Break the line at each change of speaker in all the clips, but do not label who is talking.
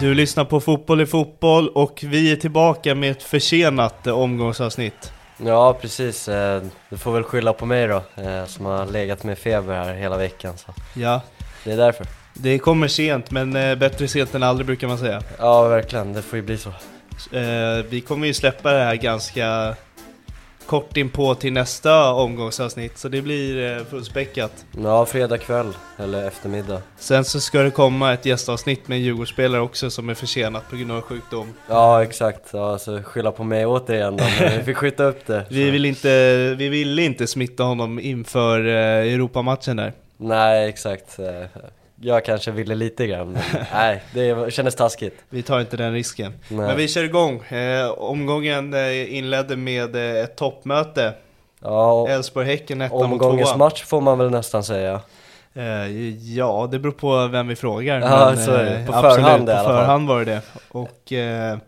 Du lyssnar på Fotboll i fotboll och vi är tillbaka med ett försenat eh, omgångsavsnitt.
Ja, precis. Eh, Du får väl skylla på mig då, eh, som har legat med feber här hela veckan. Så.
Ja,
Det är därför.
det kommer sent men eh, bättre sent än aldrig brukar man säga.
Ja, verkligen. Det får ju bli så.
Eh, vi kommer ju släppa det här ganska kort inpå till nästa omgångsavsnitt så det blir eh, fullspäckat.
Ja, fredag kväll, eller eftermiddag.
Sen så ska det komma ett gästavsnitt med en Djurgårdsspelare också som är försenat på grund av sjukdom.
Ja, exakt. Ja, så skylla på mig återigen då, men vi fick skjuta upp det.
Vi
så.
ville inte, vi vill inte smitta honom inför eh, Europamatchen där.
Nej, exakt. Eh, Jag kanske ville lite grann, men nej, det var- kändes taskigt.
Vi tar inte den risken.
Nej.
Men vi kör igång. Eh, omgången eh, inledde med eh, ett toppmöte.
Ja, och
Elfsborg-Häcken 1 mot 2.
omgångens match får man väl nästan säga.
Eh, ja, det beror på vem vi frågar.
Ja, så är det.
eh,
På
absolut,
förhand i alla
på
fall.
förhand var det det. Och eh,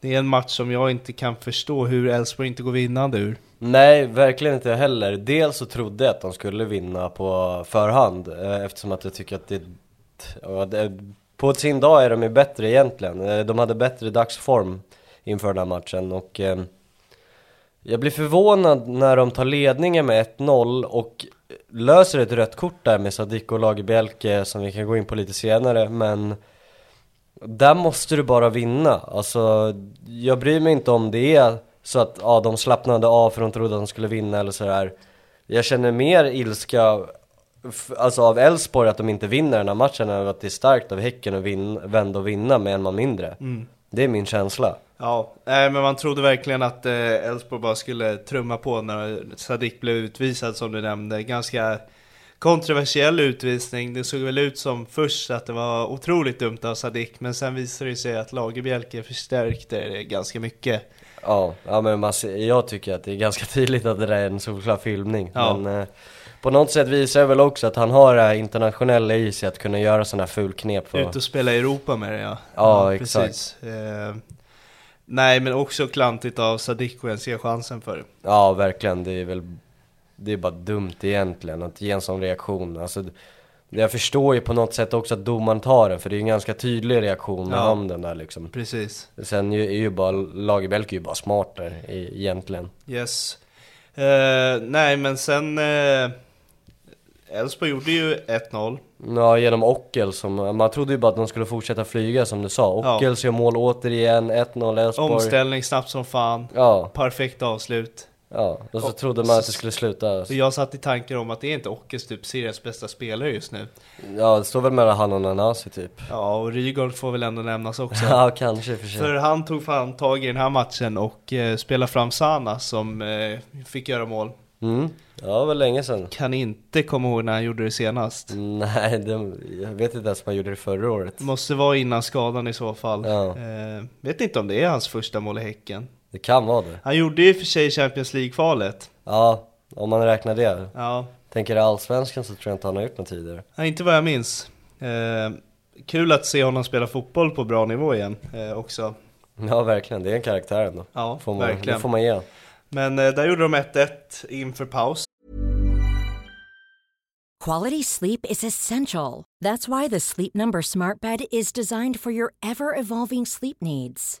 det är en match som jag inte kan förstå hur Elfsborg inte går vinnande ur.
Nej, verkligen inte jag heller. Dels så trodde jag att de skulle vinna på förhand eh, eftersom att jag tycker att det... ja, det- På sin dag är de ju bättre egentligen. Eh, De hade bättre dagsform inför den här matchen och... eh, Jag blir förvånad när de tar ledningen med 1-0 och löser ett rött kort där med Sadiq och Lagerbielke som vi kan gå in på lite senare men... Där måste du bara vinna. Alltså, jag bryr mig inte om det är så att ja, de slappnade av för de trodde att de skulle vinna eller sådär. Jag känner mer ilska f- alltså av Elfsborg att de inte vinner den här matchen än att det är starkt av Häcken att vin- vända och vinna med en man mindre. Det är min känsla.
Ja, nej, men man trodde verkligen att eh, Elfsborg bara skulle trumma på när Sadik blev utvisad som du nämnde. Ganska kontroversiell utvisning. Det såg väl ut som först att det var otroligt dumt av Sadik, men sen visade det sig att Lagerbjälke förstärkte det ganska mycket.
Ja, ja men man ser, jag tycker att det är ganska tydligt att det där är en solklar filmning.
Ja.
Men eh, på något sätt visar det väl också att han har det här internationella i sig att kunna göra sådana här fulknep.
Ut och spela i Europa med det ja.
Ja, exakt.
precis. Eh, nej, men också klantigt av Sadik och ens ge chansen för det.
Ja, verkligen. Det är väl det är bara dumt egentligen att ge en sån reaktion. Alltså, det- jag förstår ju på något sätt också att domaren tar den, för det är ju en ganska tydlig reaktion med
Ja.
handen där liksom.
Precis.
Sen ju- är ju bara Lagerbjälke är ju bara smart där e- egentligen.
Yes. Eh, nej, men sen... eh, Elfsborg gjorde ju 1-0.
Ja, genom Ockel som, man trodde ju bara att de skulle fortsätta flyga som du sa.
Ja.
Ockels gör mål återigen, 1-0 Elfsborg.
Omställning snabbt som fan.
Ja,
Perfekt avslut.
ja. Och så
Och-
trodde man att det skulle sluta.
Så jag satt i tankar om att det är inte Ockes typ seriens bästa spelare just nu.
Ja, det står väl mellan han och Nanasi typ.
Ja, och Rygaard får väl ändå nämnas också.
Ja, kanske i och för sig.
För han tog fan tag i den här matchen och eh, spelade fram Sana som eh, fick göra mål.
Mm. Ja, det var länge sedan.
Kan inte komma ihåg när han gjorde det
Mm.
senast.
Nej, det, jag vet inte ens om han gjorde det förra året.
Det måste vara innan skadan i så fall.
Ja.
Eh, vet inte om det är hans första mål i Häcken.
Det kan vara det.
Han gjorde ju i och för sig Champions League-kvalet.
Ja, om man räknar det.
Ja,
Tänker allsvenskan så tror jag inte han har gjort något tidigare.
nej, inte vad jag minns. Eh, kul att se honom spela fotboll på bra nivå igen eh, också.
Ja, verkligen. Det är en karaktär ändå.
Ja,
Får man, det
verkligen.
får man ge.
Men eh, där gjorde de 1-1 inför paus.
Quality sleep is essential. That's why the Sleep Number Smart Bed is designed for your ever evolving sleep needs.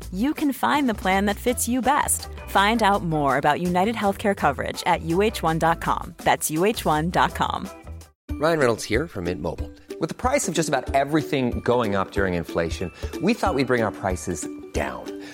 you can find the plan that fits you best. Find out more about United Healthcare coverage at uh1.com. That's uh1.com.
Ryan Reynolds here from Mint Mobile. With the price of just about everything going up during inflation, we thought we'd bring our prices down.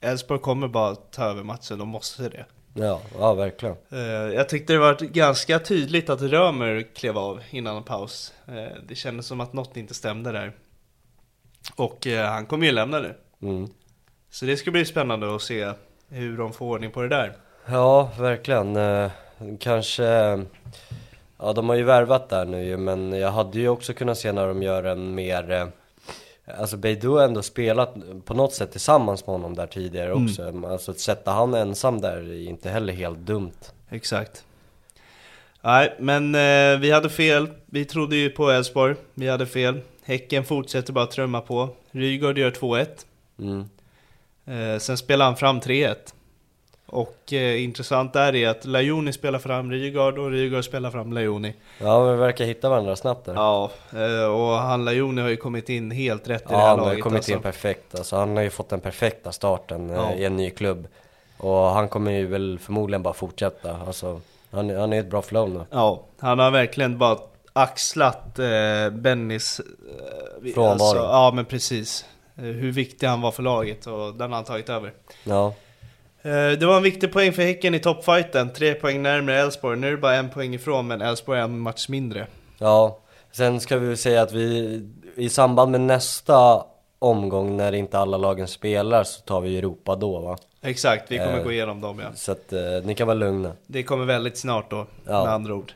Elfsborg kommer bara ta över matchen, de måste det.
Ja, ja verkligen.
Eh, jag tyckte det var ganska tydligt att Römer klev av innan paus. Eh, det kändes som att något inte stämde där. Och eh, han kommer ju lämna nu.
Mm.
Så det ska bli spännande att se hur de får ordning på det där.
Ja, verkligen. Eh, Kanske... eh, Ja, de har ju värvat där nu ju, men jag hade ju också kunnat se när de gör en mer... eh, Alltså Beidou har ändå spelat på något sätt tillsammans med honom där tidigare
Mm.
också. Alltså att sätta han ensam där är inte heller helt dumt.
Exakt. Nej, men eh, vi hade fel. Vi trodde ju på Elfsborg. Vi hade fel. Häcken fortsätter bara trumma på. Rygaard gör 2-1.
Mm.
Eh, sen spelar han fram 3-1. Och eh, intressant där är att Lajoni spelar fram Rygaard och Rygaard spelar fram Lajoni.
Ja, men vi verkar hitta varandra snabbt där.
Ja, eh, och han Lajoni har ju kommit in helt rätt i det
Ja,
här
han har
laget.
ju kommit in
alltså.
perfekt. Alltså, han har ju fått den perfekta starten eh,
Ja.
i en ny klubb. Och han kommer ju väl förmodligen bara fortsätta. Alltså, han, han är ett bra flow nu.
Ja, han har verkligen bara axlat eh, Bennys... Eh, vi-
Frånvaro.
ja, men precis. Eh, hur viktig han var för laget och den har han tagit över.
Ja,
Eh, Det var en viktig poäng för Häcken i toppfighten, tre poäng närmare Elfsborg. Nu är det bara en poäng ifrån, men Elfsborg är en match mindre.
ja. Sen ska vi väl säga att vi i samband med nästa omgång när inte alla lagen spelar så tar vi Europa då va.
Exakt, vi kommer
Eh.
gå igenom dem ja.
Så att eh, ni kan vara lugna.
Det kommer väldigt snart då,
Ja.
med andra ord.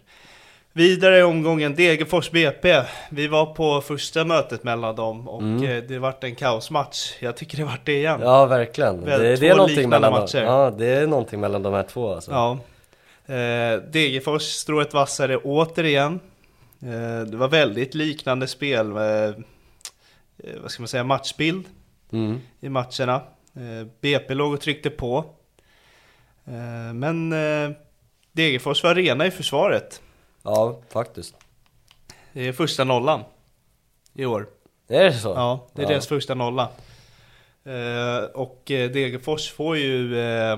Vidare i omgången, Degerfors BP. Vi var på första mötet mellan dem och
Mm.
eh, det vart en kaosmatch. Jag tycker det vart det igen.
Ja verkligen.
Väl,
Det,
två
det, är någonting
liknande
mellan dem.
matcher.
ja, det är någonting mellan de här två alltså.
Ja. Eh, Degerfors strået vassare återigen. Eh, det var väldigt liknande spel, eh, eh, vad ska man säga, matchbild
Mm.
i matcherna. Eh, BP låg och tryckte på. Eh, men eh, Degerfors var rena i försvaret.
ja faktiskt.
Det är första nollan i år.
Är det så?
Ja, det är
Ja.
deras första nolla. Eh, och eh, Degerfors får ju eh,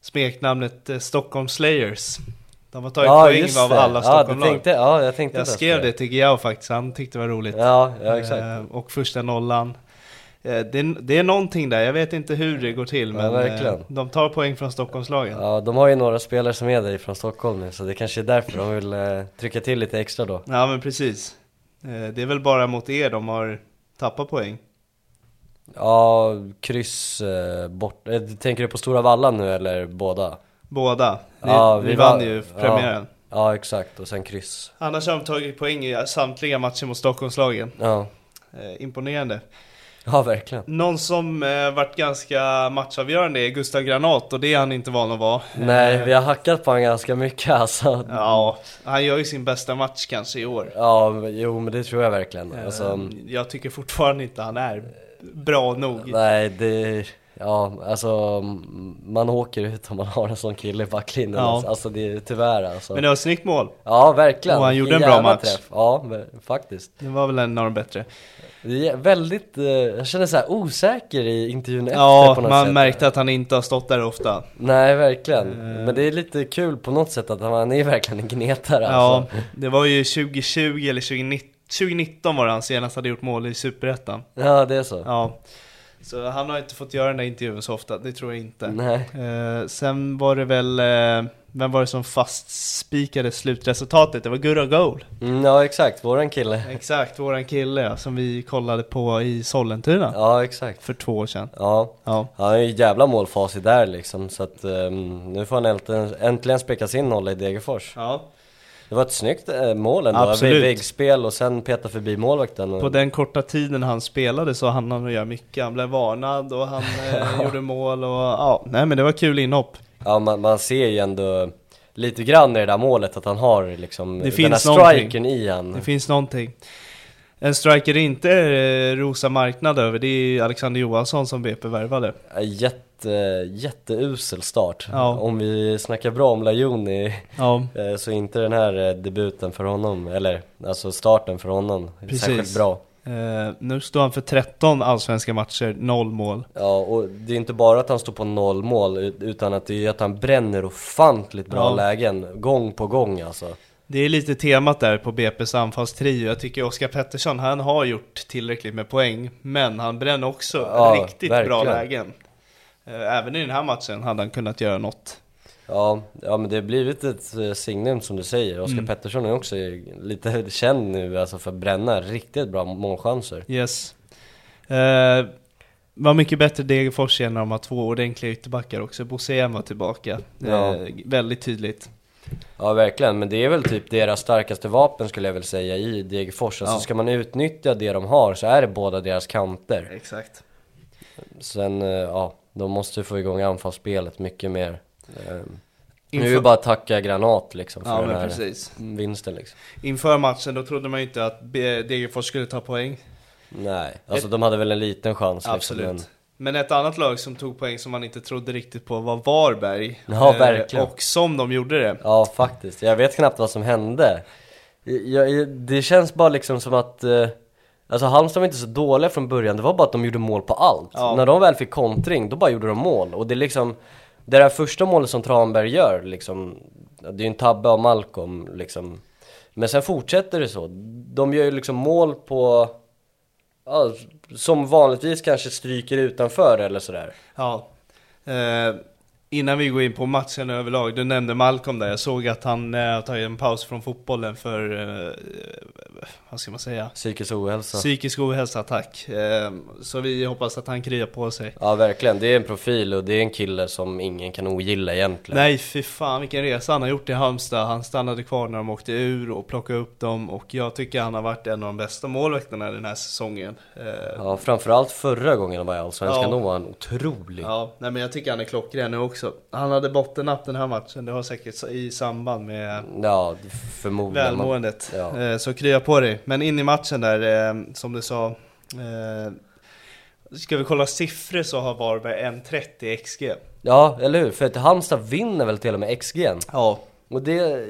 smeknamnet eh, Stockholm Slayers. De har tagit poäng av
det.
alla
ja, du
Stockholmlag.
tänkte, ja, jag tänkte
Jag
inte ens
skrev
på
det till Giao faktiskt, han tyckte det var roligt.
Ja, ja exakt.
Eh, och första nollan. Eh, det, det är någonting där, jag vet inte hur det går till
Ja,
men
verkligen.
eh, de tar poäng från Stockholmslagen. Ja.
Ja, de har ju några spelare som är därifrån Stockholm nu, så det kanske är därför de vill eh, trycka till lite extra då.
men precis. Eh, det är väl bara mot er de har tappat poäng.
Ja, kryss eh, bort. Eh, tänker du på Stora Vallan nu eller båda?
Båda. Ni,
Ja,
vi,
vi
vann
vann-
ju premiären.
Ja, exakt. Och sen kryss.
Annars har de tagit poäng i samtliga matcher mot Stockholmslagen.
Ja,
Eh, imponerande.
ja verkligen.
Någon som eh, varit ganska matchavgörande är Gustav Granat och det är han inte van att vara.
Nej, vi har hackat på honom ganska mycket alltså.
Eh. Ja, han gör ju sin bästa match kanske i år.
Ja, men- jo men det tror jag verkligen. Alltså,
Jag tycker fortfarande inte han är bra nog.
nej det... Ja, alltså m- man åker ut om man har en sån kille i backlinjen.
Ja.
Alltså det är tyvärr alltså.
Men det var ett snyggt mål.
Ja, verkligen.
Och han
Vilken
gjorde en bra
jävla
match.
träff. Ja, ver- faktiskt.
Det var väl en av de bättre.
Det är väldigt, eh, jag känner så här osäker i intervjun efter
Ja,
på något
man
sätt.
märkte att han inte har stått där ofta.
Nej, verkligen.
Eh.
Men det är lite kul på något sätt att han är verkligen en gnetare
Ja,
alltså.
det var ju 2020 eller 2019, 2019 var det han senast hade gjort mål i Superettan.
Ja, det är så.
Ja. Så han har inte fått göra den där intervjun så ofta, det tror jag inte.
Nej.
Eh, sen var det väl, eh, vem var det som fastspikade slutresultatet? Det var Gurra Goal.
Mm, ja, exakt. Våran kille.
Exakt, våran kille ja, som vi kollade på i Sollentuna
Ja, exakt.
för två år sedan.
Ja.
Ja.
Han har ju jävla målfacit där liksom, så att ehm, nu får han äntligen, äntligen spika sin nolla i Degerfors.
Ja.
Det var ett snyggt eh, mål ändå,
Absolut.
väggspel och sen peta förbi målvakten. Och,
På den korta tiden han spelade så hann han att göra mycket. Han blev varnad och han eh, gjorde mål och ja, nej men det var kul inhopp.
Ja, man, man ser ju ändå lite grann i det där målet att han har liksom
Det
den
finns
här
någonting.
strikern i han.
Det finns någonting. Eh, En striker det inte är rosa marknad över, det är ju Alexander Johansson som BP värvade.
Jätte, jätteusel start.
Ja.
Om vi snackar bra om Lajoni
Ja,
eh, så är inte den här eh, debuten för honom, eller alltså starten för honom,
Precis.
särskilt bra.
eh, nu står han för 13 allsvenska matcher, noll mål.
Ja, och det är inte bara att han står på noll mål, ut- utan att det är att han bränner ofantligt bra
Ja.
lägen, gång på gång alltså.
Det är lite temat där på BP's anfallstrio. Jag tycker Oskar Pettersson, han har gjort tillräckligt med poäng, men han bränner också
Ja,
riktigt bra
verkligen.
lägen. Eh, Även i den här matchen hade han kunnat göra något.
Ja, ja men det har blivit ett eh, signum som du säger. Oskar
Mm.
Pettersson är också lite känd nu alltså för att bränna riktigt bra målchanser.
Yes. Eh, vad mycket bättre Degerfors är när de har två ordentliga ytterbackar också. Bosean var tillbaka.
Ja.
Eh, väldigt tydligt.
Ja verkligen, men det är väl typ deras starkaste vapen skulle jag väl säga i Degerfors. Alltså
Ja.
ska man utnyttja det de har så är det båda deras kanter.
Exakt.
Sen, eh, ja, de måste få igång anfallsspelet mycket mer. Eh, Nu är
Inför-
det bara att tacka Granat liksom för
Ja,
den
men
här
precis.
vinsten liksom.
Inför matchen då trodde man ju inte att B- Degerfors skulle ta poäng.
Nej, alltså de hade väl en liten chans liksom.
Eh, Absolut. Men ett annat lag som tog poäng som man inte trodde riktigt på var Varberg.
Ja,
Eh,
verkligen.
Och som de gjorde det.
Ja, faktiskt. Jag vet knappt vad som hände. Jag, jag, det känns bara liksom som att... Eh, alltså Halmstad var inte så dåliga från början, det var bara att de gjorde mål på allt.
Ja.
När de väl fick kontring, då bara gjorde de mål. Och det är liksom... Det där första målet som Tranberg gör, liksom... Det är ju en tabbe av Malcolm, liksom. Men sen fortsätter det så. De gör ju liksom mål på... Ja, som vanligtvis kanske stryker utanför eller sådär.
Ja. Eh, innan vi går in på matchen överlag, du nämnde Malcolm där. Jag såg att han eh, har tagit en paus från fotbollen för, eh, vad ska man säga?
Psykisk ohälsa.
Psykisk ohälsa, tack. Eh, Så vi hoppas att han kryar på sig.
Ja verkligen, det är en profil och det är en kille som ingen kan ogilla egentligen.
Nej, fy fan vilken resa han har gjort i Halmstad. Han stannade kvar när de åkte ur och plockade upp dem och jag tycker han har varit en av de bästa målvakterna den här säsongen. Eh,
Ja, framförallt förra gången han var i Allsvenskan,
Ja.
då var han otrolig.
Ja, nej men jag tycker han är klockren nu också. Han hade bottennapp den här matchen, det har säkert i samband med
Ja, förmodligen.
välmåendet.
Mm, Ja.
Eh, Så krya på dig. Men in i matchen där, eh, som du sa. eh, Ska vi kolla siffror så har Varberg 1.30 XG.
ja, eller hur? För att Halmstad vinner väl till och med XG'n?
Ja,
Och det,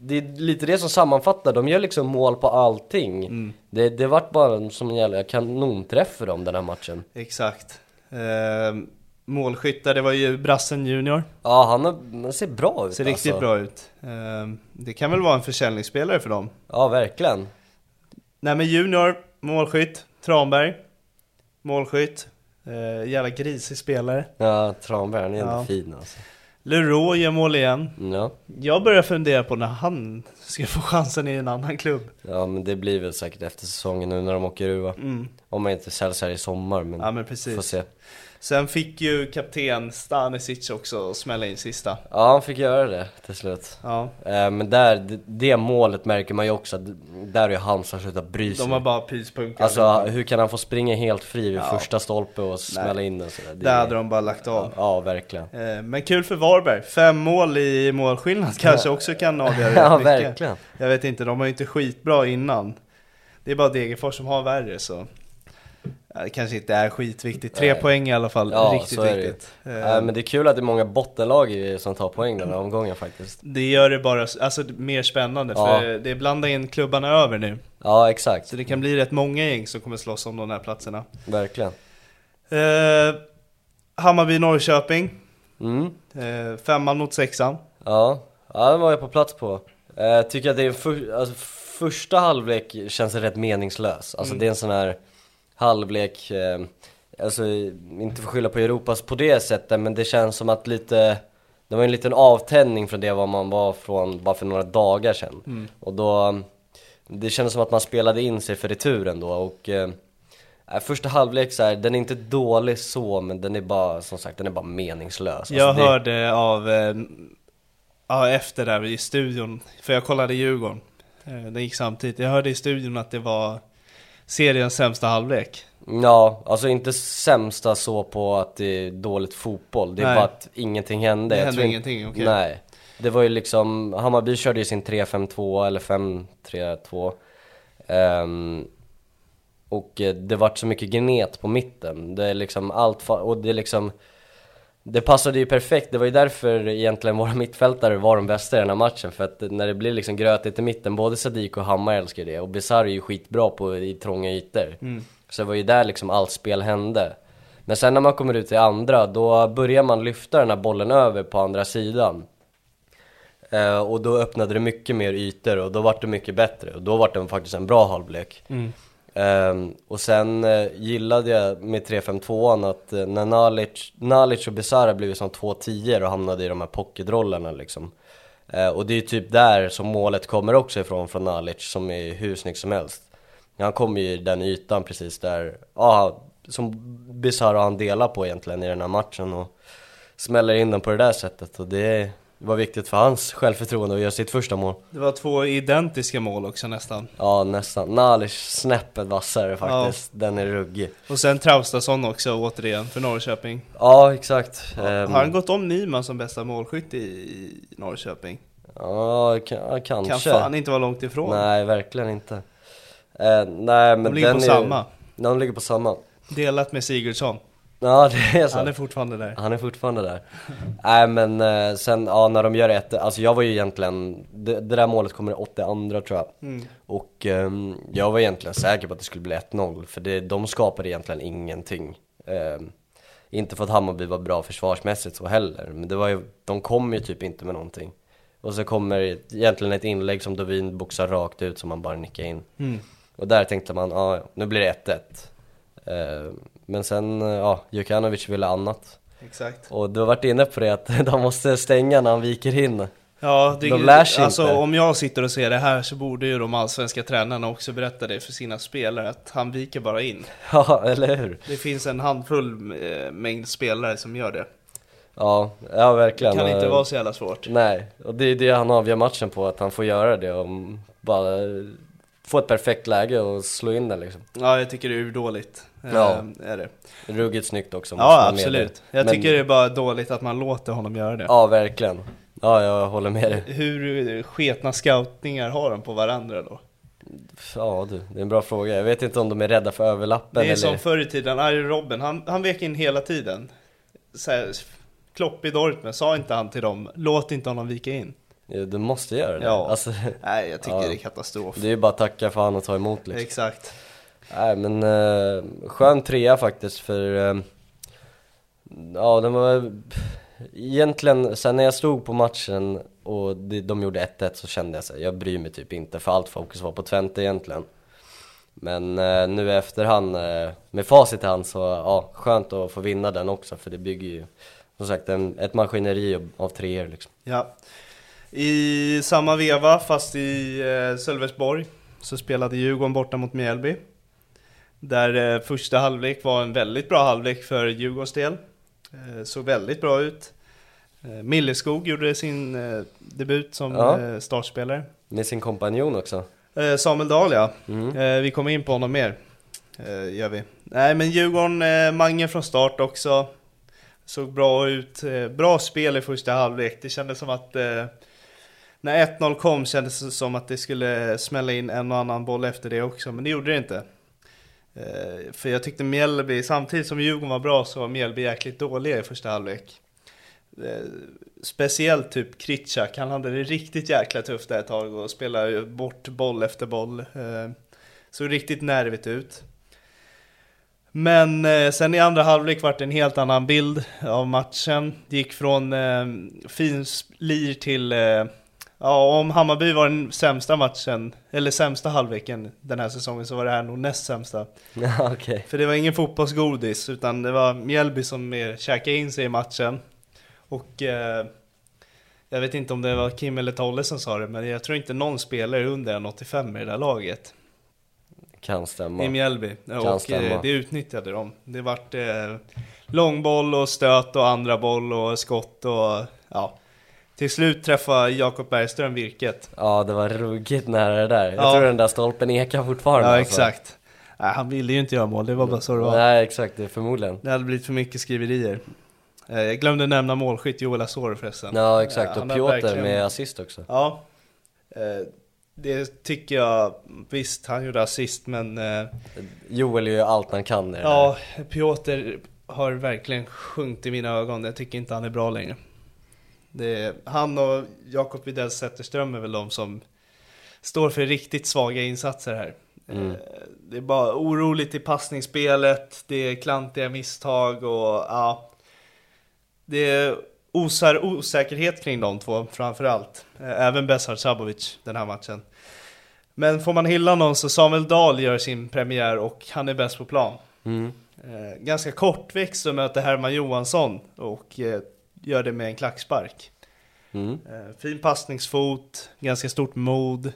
det är lite det som sammanfattar, de gör liksom mål på allting.
Mm.
Det, det vart bara en som en jävla kanonträff för dem den här matchen.
exakt. Eh, Målskyttar, det var ju brassen junior.
Ja, han, har, han ser bra ut
Ser riktigt
alltså.
bra ut. Eh, Det kan väl vara en försäljningsspelare för dem.
Ja, verkligen.
Nej men junior, målskytt, Tranberg, målskytt. Eh, Jävla grisig spelare.
Ja, Tranberg, han är ändå
Ja.
fin alltså.
Leroy gör mål igen.
Ja.
Jag börjar fundera på när han ska få chansen i en annan klubb.
Ja men det blir väl säkert efter säsongen nu när de åker ur va? Om man inte säljs här i sommar men,
Mm. Ja, men precis.
får se.
Sen fick ju kapten Stanisic också smälla in sista.
Ja han fick göra det till slut.
Ja,
Eh, men där, det, det målet märker man ju också att där har ju Halmstad slutat bry sig.
de har bara pyspunkat.
Alltså hur kan han få springa helt fri vid första stolpe och smälla in den sådär? Det-
Där hade de bara lagt av.
Ja verkligen.
Eh, Men kul för Varberg, fem mål i målskillnad kanske också kan avgöra rätt
Ja,
mycket.
verkligen.
Jag vet inte, de var ju inte skitbra innan. Det är bara Degerfors som har värre så. Ja, Det kanske inte är skitviktigt, tre poäng i alla fall,
Ja
riktigt
så är det ju.
viktigt. Eh,
Eh, Men det är kul att det är många bottenlag i- som tar poäng den här omgången faktiskt.
Det gör det bara alltså, mer spännande för det blandar in klubbarna över nu.
Ja exakt,
Så det kan bli rätt många gäng som kommer slåss om de här platserna.
verkligen.
Eh, Hammarby-Norrköping.
Mm.
Eh, femman mot sexan.
Ja, ja den var jag på plats på. Eh, tycker att det är en för, alltså, första halvlek känns rätt meningslös. Alltså det är en sån här halvlek, eh, alltså inte för att skylla på Europas på det sättet, men det känns som att lite det var en liten avtändning från det vad man var från bara för några dagar sedan. Och då, det kändes som att man spelade in sig för returen då och eh, eh, första halvlek så här, den är inte dålig så men den är bara, som sagt, den är bara meningslös. Alltså,
jag
det-
hörde av, eh, ja, efter där i studion, för jag kollade Djurgården. Eh, det gick samtidigt. Jag hörde i studion att det var seriens sämsta halvlek.
Ja, alltså inte sämsta så på att det är dåligt fotboll. Det är
Nej.
bara att ingenting hände.
Det
Jag
hände
tror in-
ingenting, okej.
Nej. Det var ju liksom, Hammarby körde ju sin 3-5-2 eller 5-3-2. Ehm, Och eh, det vart så mycket gnet på mitten. Det är liksom allt, fa- och det är liksom det passade ju perfekt, det var ju därför egentligen våra mittfältare var de bästa i den här matchen. För att när det blir liksom grötigt i mitten, både Sadik och Hammar älskar det. Och Bizarre är ju skitbra på, i trånga ytor. Så det var ju där liksom allt spel hände. Men sen när man kommer ut i andra, då börjar man lyfta den här bollen över på andra sidan. Eh, och då öppnade det mycket mer ytor och då vart det mycket bättre. Och då vart det faktiskt en bra halvlek. Ehm, och sen eh, gillade jag med 3-5-2an att eh, när Nalic, Nalic och Besara blev som två tior och hamnade i de här pocketrollerna liksom. Eh, och det är ju typ där som målet kommer också ifrån från Nalic som är hur snygg som helst. Han kommer ju i den ytan precis där, ja, som Besara han delar på egentligen i den här matchen och smäller in den på det där sättet. Och det var viktigt för hans självförtroende att göra sitt första mål.
Det var två identiska mål också nästan.
Ja nästan, Nalic snäppet vassare faktiskt, den är ruggig.
Och sen Traustason också återigen för Norrköping.
Ja, exakt. Ehm,
Har han gått om Nyman som bästa målskytt i, i Norrköping?
Ja, ka- ja, kanske.
Kan fan inte vara långt ifrån.
Nej, verkligen inte. Eh, nej, men
De ligger
den
på
är,
samma.
Ja, De ligger på samma.
Delat med Sigurdsson.
Ja, det är så.
Han är fortfarande där.
Han är fortfarande där. Nej men eh, sen, ja när de gör ett, alltså jag var ju egentligen, det, det där målet kommer i 82 tror jag. Och ehm, jag var egentligen säker på att det skulle bli 1-0, för det, de skapade egentligen ingenting. Ehm, inte för att Hammarby var bra försvarsmässigt så heller, men det var ju, de kom ju typ inte med någonting. Och så kommer egentligen ett inlägg som Dovin boxar rakt ut som man bara nickar in. Och där tänkte man, ja ja, nu blir det 1-1. Ehm, men sen, eh, ja, Jukanovic ville annat.
Exakt.
Och du har varit inne på det att de måste stänga när han viker in.
Ja, det,
De lär sig
alltså
inte.
om jag sitter och ser det här så borde ju de allsvenska tränarna också berätta det för sina spelare att han viker bara in.
Ja, eller hur?
Det finns en handfull eh, mängd spelare som gör det.
Ja, ja verkligen.
Det kan inte
Eh,
vara så jävla svårt.
Nej, och det är det han avgör matchen på, att han får göra det och bara få ett perfekt läge och slå in den liksom.
Ja, jag tycker det är urdåligt. Eh,
Ja.
Är det.
Ruggigt snyggt också. måste
Ja,
man medge.
absolut. Jag
Men-
tycker det är bara dåligt att man låter honom göra det.
Ja, verkligen. Ja, jag håller med dig.
Hur eh, sketna scoutningar har de på varandra då?
Ja du, det är en bra fråga. Jag vet inte om de är rädda för överlappen
Det är
eller...
som förr i tiden, Arjen Robben, han, han vek in hela tiden. Så här, Klopp i Dortmund, sa inte han till dem, låt inte honom vika in.
Ja, Du måste göra det.
Ja.
Alltså,
Nej, jag tycker
Ja.
det är katastrof.
det är ju bara att tacka fan och ta emot liksom.
Exakt.
Nej men eh, skön trea faktiskt för eh, Ja den var Egentligen, sen när jag stod på matchen och de, de gjorde 1-1 så kände jag sig, jag bryr mig typ inte för allt fokus var på Twente egentligen Men eh, nu i efterhand, eh, med facit i hand så, ja skönt att få vinna den också för det bygger ju Som sagt en, ett maskineri av treor liksom
Ja. I samma veva, fast i eh, Sölvesborg, så spelade Djurgården borta mot Mjällby. Där eh, första halvlek var en väldigt bra halvlek för Djurgårdens del. Eh, såg väldigt bra ut. Eh, Milleskog gjorde sin eh, debut som
Ja.
eh, startspelare.
Med sin kompanjon också
Eh, Samuel Dahl ja. Eh, vi kommer in på honom mer. Eh, gör vi. Nej men Djurgården, eh, Mange från start också. Såg bra ut. Eh, bra spel i första halvlek. Det kändes som att eh, när 1-0 kom kändes det som att det skulle smälla in en och annan boll efter det också. Men det gjorde det inte. Eh, för jag tyckte Mjällby, samtidigt som Djurgården var bra så var Mjällby jäkligt dåliga i första halvlek. Eh, Speciellt typ Kritschak, han hade det riktigt jäkla tufft där ett tag och spelade ju bort boll efter boll. Eh, Såg riktigt nervigt ut. Men eh, sen i andra halvlek vart det en helt annan bild av matchen. Det gick från eh, finslir till, eh, ja om Hammarby var den sämsta matchen, eller sämsta halvleken den här säsongen så var det här nog näst sämsta.
Ja okej
För det var ingen fotbollsgodis, utan det var Mjällby som mer käkade in sig i matchen. Och eh, jag vet inte om det var Kim eller Tolle som sa det, men jag tror inte någon spelare är under 1,85 i det där laget.
Kan stämma
I Mjällby. Och eh,
stämma.
det utnyttjade de. Det vart eh, långboll och stöt och andra boll och skott och ja. Till slut träffade Jakob Bergström virket.
Ja det var ruggigt nära det där. Jag
Ja.
tror den där stolpen ekar fortfarande
Ja,
alltså.
exakt. Nej, han ville ju inte göra mål, det var bara så det var.
Nej exakt, det är förmodligen.
Det hade blivit för mycket skriverier. Eh, Jag glömde nämna målskytt Joel Asoro förresten.
Ja exakt,
Eh, han har
och Piotr
verkligen-
med assist också.
Ja. Eh, det tycker jag, visst han gjorde assist men eh,
Joel gör ju allt han kan i det
ja, Piotr har verkligen sjunkit i mina ögon. Jag tycker inte han är bra längre. Det är, han och Jakob Widell Zetterström är väl de som står för riktigt svaga insatser här. Eh, Det är bara oroligt i passningsspelet, det är klantiga misstag och ja, det osar osäkerhet kring de två framförallt. Eh, Även Besard Sabovic den här matchen. Men får man hylla någon så Samuel Dahl gör sin premiär och han är bäst på plan.
Mm.
Eh, ganska kortväxt och möter Herman Johansson och eh, gör det med en klackspark.
Mm.
Eh, fin passningsfot, ganska stort mod.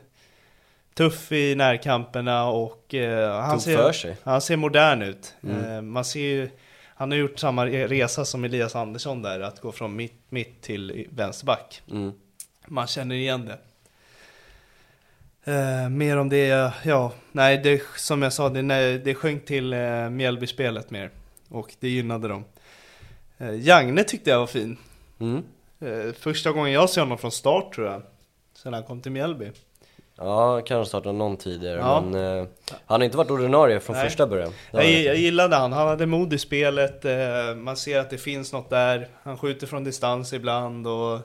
Tuff i närkamperna och eh, han,
Tog
ser,
för sig. Mm.
han ser modern ut. Eh, man ser ju, han har gjort samma re- resa som Elias Andersson där, att gå från mitt, mitt till vänsterback.
Mm.
Man känner igen det. Eh, mer om det, ja, nej det, som jag sa, det, nej, det sjönk till eh, Mjällby-spelet mer. Och det gynnade dem. Eh, Jagne tyckte jag var fin. Eh, första gången jag såg honom från start tror jag. Sen han kom till Mjällby.
Ja, kanske startat någon tidigare
Ja.
men eh, han har inte varit ordinarie från
Nej.
första början. Det har
Jag,
han
gi-
inte.
jag gillade han, han hade mod i spelet, eh, man ser att det finns något där. Han skjuter från distans ibland och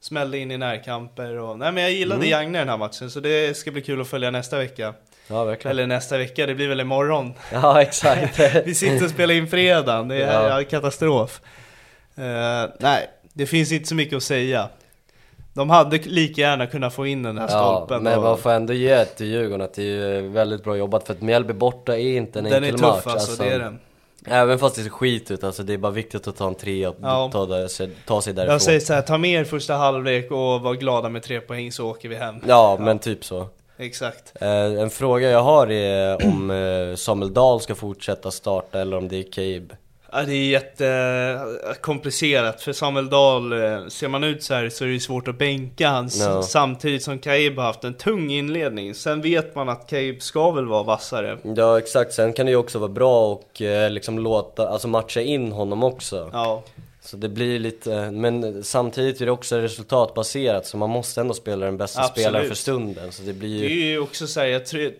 smällde in i närkamper. Och... Nej men jag gillade Jagne den här matchen, så det ska bli kul att följa nästa vecka.
Ja, verkligen.
Eller nästa vecka, det blir väl imorgon.
Ja, exakt.
Vi sitter och spelar in fredagen, det är
Ja.
ja. katastrof. Eh, nej, det finns inte så mycket att säga. De hade lika gärna kunnat få in den här
Ja,
stolpen.
men
och-
man får ändå ge till Djurgården att det är väldigt bra jobbat för att Mjällby borta är inte en
den är
enkel
tuff
match.
alltså, det är den.
Även fast det ser skit ut, alltså, det är bara viktigt att ta en trea och
Ja.
ta, där- se- ta sig därifrån.
Jag säger så här, ta med er första halvlek och var glada med tre poäng så åker vi hem.
Ja, men typ så.
Exakt.
Eh, en fråga jag har är om eh, Samuel Dahl ska fortsätta starta eller om det är Kabe.
Ja, det är jättekomplicerat för Samuel Dahl, eh, ser man ut så här så är det svårt att bänka hans
Ja.
samtidigt som Kaib har haft en tung inledning. Sen vet man att Kaib ska väl vara vassare.
Ja exakt, sen kan det ju också vara bra och eh, liksom låta, alltså matcha in honom också.
Ja,
Så det blir lite, eh, men samtidigt är det också resultatbaserat så man måste ändå spela den bästa
Absolut.
spelaren för stunden. Så det blir
Det
ju,
är ju också så här, jag tror,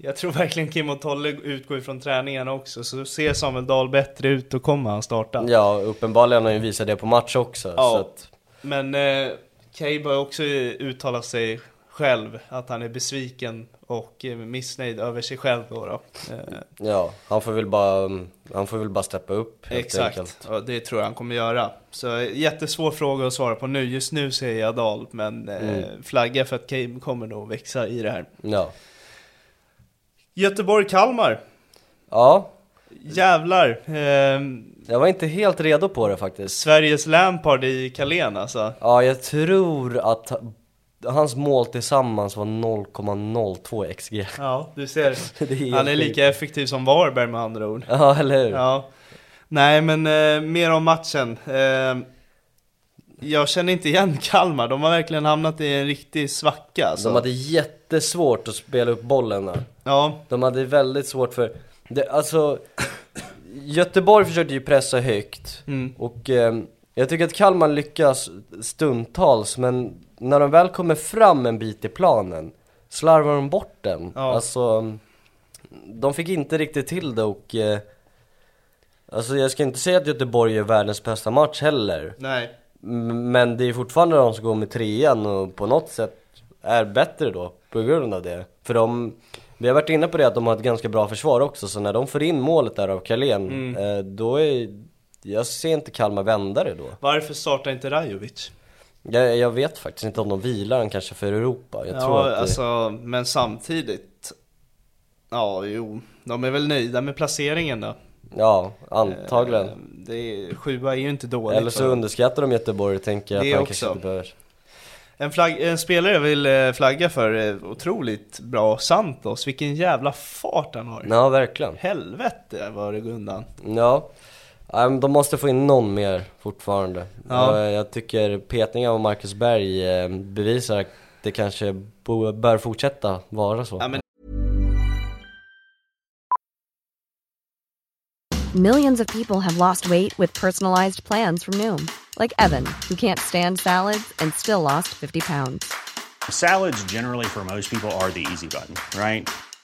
jag tror verkligen Kim och Tolle utgår ifrån träningarna också, så ser Samuel Dahl bättre ut då kommer han starta.
ja uppenbarligen har han ju visat det på match också.
Ja.
Så att,
Men eh, Kabe har ju också uttalat sig själv att han är besviken och eh, missnöjd över sig själv då. då. Eh,
ja, han får väl bara, mm, han får väl bara steppa upp helt
exakt,
enkelt.
och det tror jag han kommer göra. Så eh, jättesvår fråga att svara på nu, just nu säger jag Dahl, men eh,
Mm.
flagga för att Kabe kommer nog växa i det här.
Ja.
Göteborg-Kalmar,
ja,
jävlar! Eh,
jag var inte helt redo på det faktiskt.
Sveriges Lampard i Carlén alltså.
Ja, jag tror att ha- hans mål tillsammans var 0,02 XG.
Ja, du ser.
Det är helt
Han är
sjukt.
lika effektiv som Varberg med andra ord.
Ja, eller hur?
Ja. Nej, men eh, mer om matchen. Eh, jag känner inte igen Kalmar, de har verkligen hamnat i en riktig svacka alltså.
De hade jättesvårt att spela upp bollen där.
Ja,
De hade väldigt svårt för, det, alltså Göteborg försökte ju pressa högt och eh, jag tycker att Kalmar lyckas stundtals men när de väl kommer fram en bit i planen slarvar de bort den.
Ja.
Alltså, de fick inte riktigt till det och eh, Alltså jag ska inte säga att Göteborg är världens bästa match heller
nej.
M- Men det är fortfarande de som går med trean och på något sätt är bättre då på grund av det. För de, vi har varit inne på det att de har ett ganska bra försvar också, så när de får in målet där av Carlén,
Mm.
eh, då är, jag ser inte Kalmar vända det då.
Varför startar inte Rajovic?
Jag, jag vet faktiskt inte om de vilar han kanske för Europa. Jag tror
Ja,
att det,
alltså, men samtidigt. Ja, jo. De är väl nöjda med placeringen då.
ja antagligen.
Eh, Det är, sjua är ju inte dåligt.
Eller så
för dem.
underskattar de Göteborg och tänker att
Det
han
också.
kanske inte behöver.
En, flagg, en spelare jag vill eh, flagga för, är otroligt bra, Santos. Vilken jävla fart han har.
Ja, verkligen.
Helvete vad det går undan.
Ja, Nej, men de måste få in någon mer fortfarande.
Ja.
Eh, Jag tycker petningen av Marcus Berg eh, bevisar att det kanske bo- bör fortsätta vara så.
Ja, men
Millions of people have lost weight with personalized plans from Noom, like Evan, who can't stand salads and still lost 50 pounds.
Salads, generally, for most people, are the easy button, right?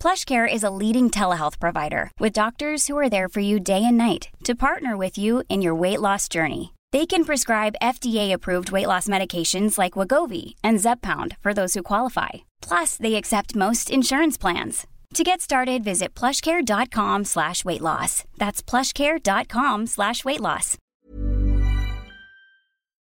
PlushCare is a leading telehealth provider with doctors who are there for you day and night to partner with you in your weight loss journey. They can prescribe FDA-approved weight loss medications like Wagovi and Zepbound for those who qualify. Plus, they accept most insurance plans. To get started, visit plushcare.com slash weight loss. That's plushcare.com slash weight loss.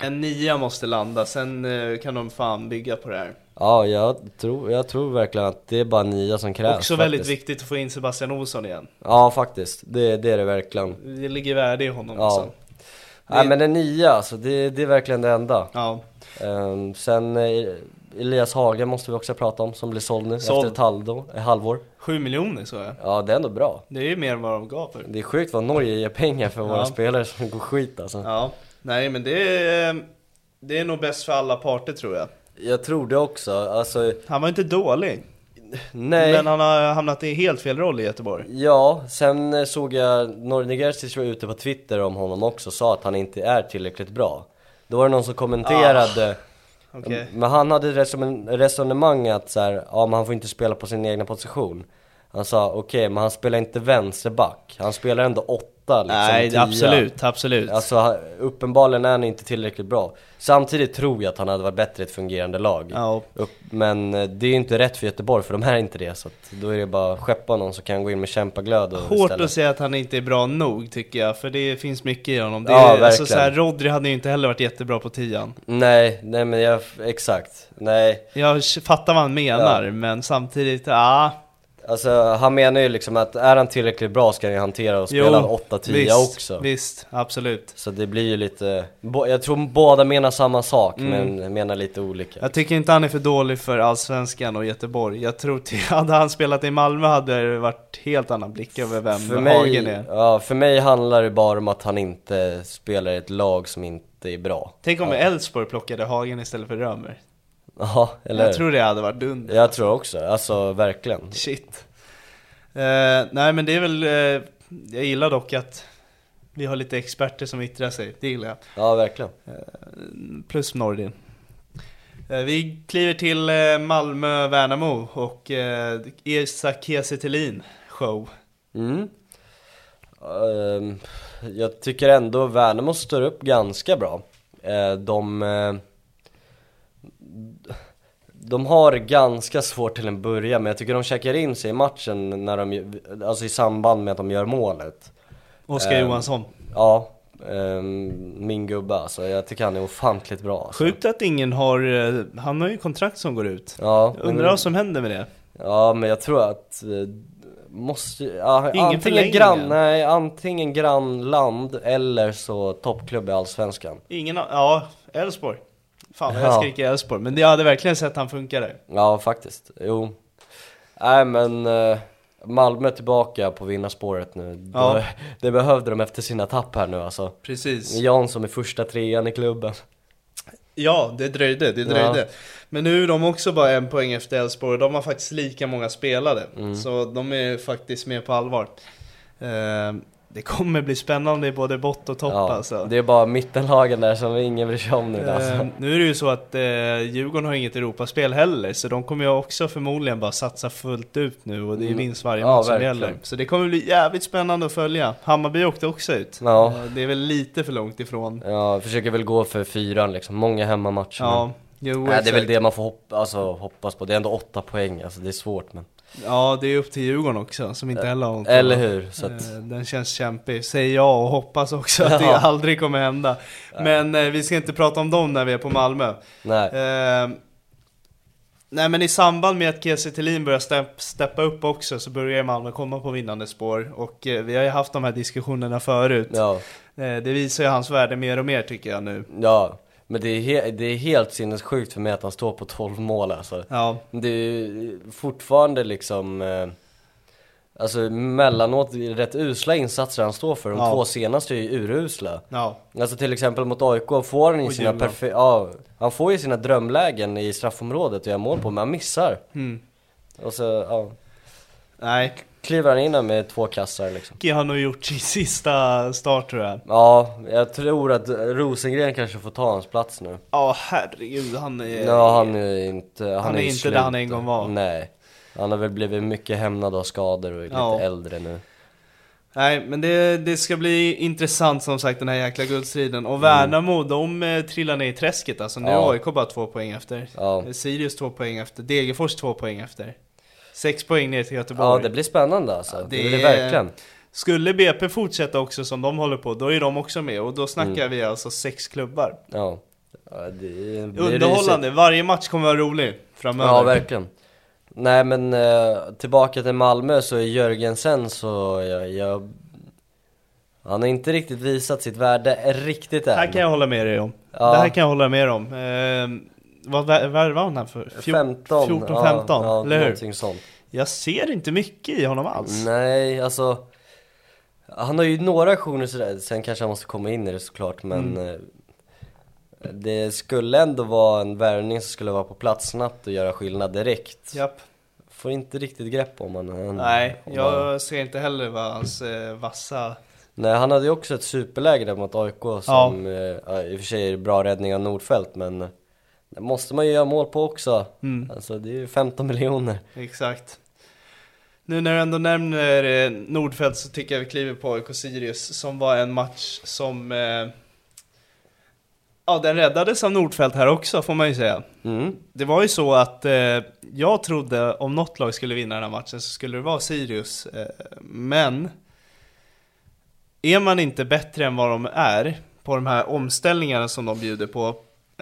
En nia måste landa, sen eh, kan de fan bygga på det här.
Ja, jag tror, jag tror verkligen att det är bara nia som krävs
Också väldigt
faktiskt.
viktigt att få in Sebastian Olsson igen.
Ja, faktiskt. Det, det är det verkligen.
Det ligger värde i honom
Ja.
också.
Nej men en nia alltså, det, det är verkligen det enda.
Ja.
Ehm, sen eh, Elias Hagen måste vi också prata om, som blir såld nu
Såld.
efter ett halvår, ett halvår.
7 miljoner så jag.
Ja, det är ändå bra.
Det är ju mer än vad de gav för.
Det är sjukt vad Norge ger pengar för våra
Ja.
spelare som går skit alltså.
Ja, nej men det är, det är nog bäst för alla parter tror jag.
Jag tror det också, alltså
Han var inte dålig,
nej.
men han har hamnat i helt fel roll i Göteborg.
Ja, sen eh, såg jag Nornegersic var ute på Twitter om honom också, sa att han inte är tillräckligt bra. Då var det någon som kommenterade,
Ah, Okej.
men han hade reson- resonemang att så här, ja men han får inte spela på sin egna position. Han sa okej, men han spelar inte vänsterback, han spelar ändå åtta liksom,
nej,
tia.
absolut, absolut.
Alltså han- uppenbarligen är han inte tillräckligt bra. Samtidigt tror jag att han hade varit bättre i ett fungerande lag.
Ja.
Upp, men eh, det är ju inte rätt för Göteborg för de här är inte det. Så att då är det bara att skeppa någon som kan gå in med kämpaglöd och
Hårt
istället.
att säga att han inte är bra nog tycker jag, för det finns mycket i honom. Det
Ja,
är, alltså,
verkligen.
så här, Rodri hade ju inte heller varit jättebra på tian.
Nej, nej men jag, exakt. Nej,
Jag fattar vad han menar, men samtidigt, ja.
alltså han menar ju liksom att är han tillräckligt bra ska han ju hantera och spela
jo,
8-10
visst,
också.
Visst, absolut.
Så det blir ju lite, bo, jag tror båda menar samma sak men menar lite olika.
Mm. Jag tycker inte han är för dålig för Allsvenskan och Göteborg. Jag tror till, hade han spelat i Malmö hade det varit helt annan blick över vem
För
Hagen
mig,
är.
ja, för mig handlar det bara om att han inte spelar i ett lag som inte är bra.
Tänk om Elfsborg plockade Hagen istället för Römer.
Ja, eller
Jag tror det hade varit dunder.
jag tror också, alltså verkligen.
Shit. Eh, nej men det är väl, eh, jag gillar dock att vi har lite experter som yttrar sig, det gillar jag.
Ja, verkligen.
Plus Nordin. Eh, vi kliver till eh, Malmö-Värnamo och eh, Isak Kiese Thelin show.
Mm. Ehm, jag tycker ändå Värnamo står upp ganska bra. Eh, de, eh, de har ganska svårt till en början, men jag tycker de checkar in sig i matchen när de, gör- alltså i samband med att de gör målet.
Oskar
Ehm,
Johansson.
Ja, ehm, min gubbe alltså. Jag tycker han är ofantligt bra. Alltså.
Sjukt att ingen har, eh, han har ju kontrakt som går ut.
Ja,
Jag
men-
undrar vad som händer med det.
Ja men jag tror att eh, Måste, ja,
Ingen
antingen,
förlängning
grann,
än.
nej, antingen grannland eller så toppklubb i Allsvenskan
Ingen har, ja, Elfsborg. Fan vad jag
Ja.
skriker Elfsborg, men jag hade verkligen sett han funka där.
Ja faktiskt, jo Nej men eh, Malmö tillbaka på vinnarspåret nu
Ja.
det, det behövde de efter sina tapp här nu alltså
Precis.
Jansson är första trean i klubben
Ja, det dröjde, det dröjde.
Ja.
Men nu är de också bara en poäng efter Elfsborg och de har faktiskt lika många spelade.
Mm.
Så de är faktiskt med på allvar. Eh, det kommer bli spännande i både bott och topp alltså.
Det är bara mittenlagen där som ingen bryr sig om nu
Eh,
alltså.
nu är det ju så att eh, Djurgården har inget Europaspel heller, så de kommer ju också förmodligen bara satsa fullt ut nu och det är vinst varje
Mm. Ja,
match som
verkligen.
gäller. Så det kommer bli jävligt spännande att följa. Hammarby åkte också ut.
Ja. Eh,
Eh, det är väl lite för långt ifrån.
Ja, försöker väl gå för fyran liksom, många hemmamatcher nu.
Ja, jo,
Nej, det är väl
exakt.
det man får hoppa, alltså, hoppas på. Det är ändå åtta poäng, alltså det är svårt men.
Ja, det är upp till Djurgården också, som inte heller har något.
Eh, Eller hur? Så att,
Eh, Den känns kämpig, säger jag och hoppas också att det
Ja.
aldrig kommer hända. Men eh, vi ska inte prata om dem när vi är på Malmö.
nej.
Eh, nej men i samband med att Kiese Thelin börjar stepp, steppa upp också så börjar Malmö komma på vinnande spår. Och eh, vi har ju haft de här diskussionerna förut.
Ja,
Eh, det visar ju hans värde mer och mer tycker jag nu.
ja. Men det är, he- det är helt sinnessjukt för mig att han står på 12 mål alltså.
Ja.
Det är ju fortfarande liksom, eh, alltså mellanåt rätt usla insatser han står för. De
Ja.
två senaste är ju urusla.
Ja.
Alltså till exempel mot AIK får han ju
Och
sina
Djurgården.
perfe- ja, han får ju sina drömlägen i straffområdet och gör mål på, men han missar.
Mm.
Och så, ja.
Nej.
Kliver han in här med två kassar liksom.
Micke har nog gjort sin sista start tror jag.
Ja, jag tror att Rosengren kanske får ta hans plats nu.
Ja herregud han är...
Ja, han är inte, han
Eh, Han är
ju
inte
slut.
där han en gång var.
Nej. Han har väl blivit mycket hämnad av skador och är lite
Ja.
äldre nu.
Nej men det, det ska bli intressant som sagt den här jäkla guldstriden. Och Värnamo de eh, trillar ner i träsket alltså. Nu
Mm. Ja.
är AIK bara två poäng efter. Eh,
Ja.
Sirius två poäng efter. Degerfors två poäng efter. Sex poäng ner till Göteborg.
Ja, det blir spännande alltså. det, blir det verkligen.
Skulle BP fortsätta också som de håller på, då är de också med. Och då snackar
Mm.
vi alltså sex klubbar.
Ja. Ja, det blir
Underhållande, varje match kommer vara rolig framöver.
Ja, verkligen. Nej men eh, tillbaka till Malmö så är Jörgensen så, jag, jag... Han har inte riktigt visat sitt värde riktigt
Det
än.
här kan jag hålla med dig om.
Ja.
Det här kan jag hålla med dig om. Ehm, vad vär- värvade han här för? Fjor-
15,
14,
ja,
15,
ja,
eller hur?
någonting sånt.
Jag ser inte mycket i honom alls.
Nej, alltså... Han har ju några aktioner sådär, sen kanske han måste komma in i det såklart men...
Mm.
eh, Det skulle ändå vara en värvning som skulle vara på plats snabbt och göra skillnad direkt.
Japp.
Får inte riktigt grepp om han. han
Nej,
om han-
jag ser inte heller vad hans eh, vassa...
Nej, han hade ju också ett superläge där mot AIK som eh, ja. i och för sig är bra räddning av Nordfeldt men det måste man ju göra mål på också.
Mm.
Alltså det är ju 15 miljoner.
Exakt. Nu när du ändå nämner eh, Nordfeldt så tycker jag vi kliver på AIK Sirius som var en match som... Eh, ja, den räddades av Nordfeldt här också får man ju säga.
Mm.
Det var ju så att eh, jag trodde om något lag skulle vinna den här matchen så skulle det vara Sirius. Eh, men är man inte bättre än vad de är på de här omställningarna som de bjuder på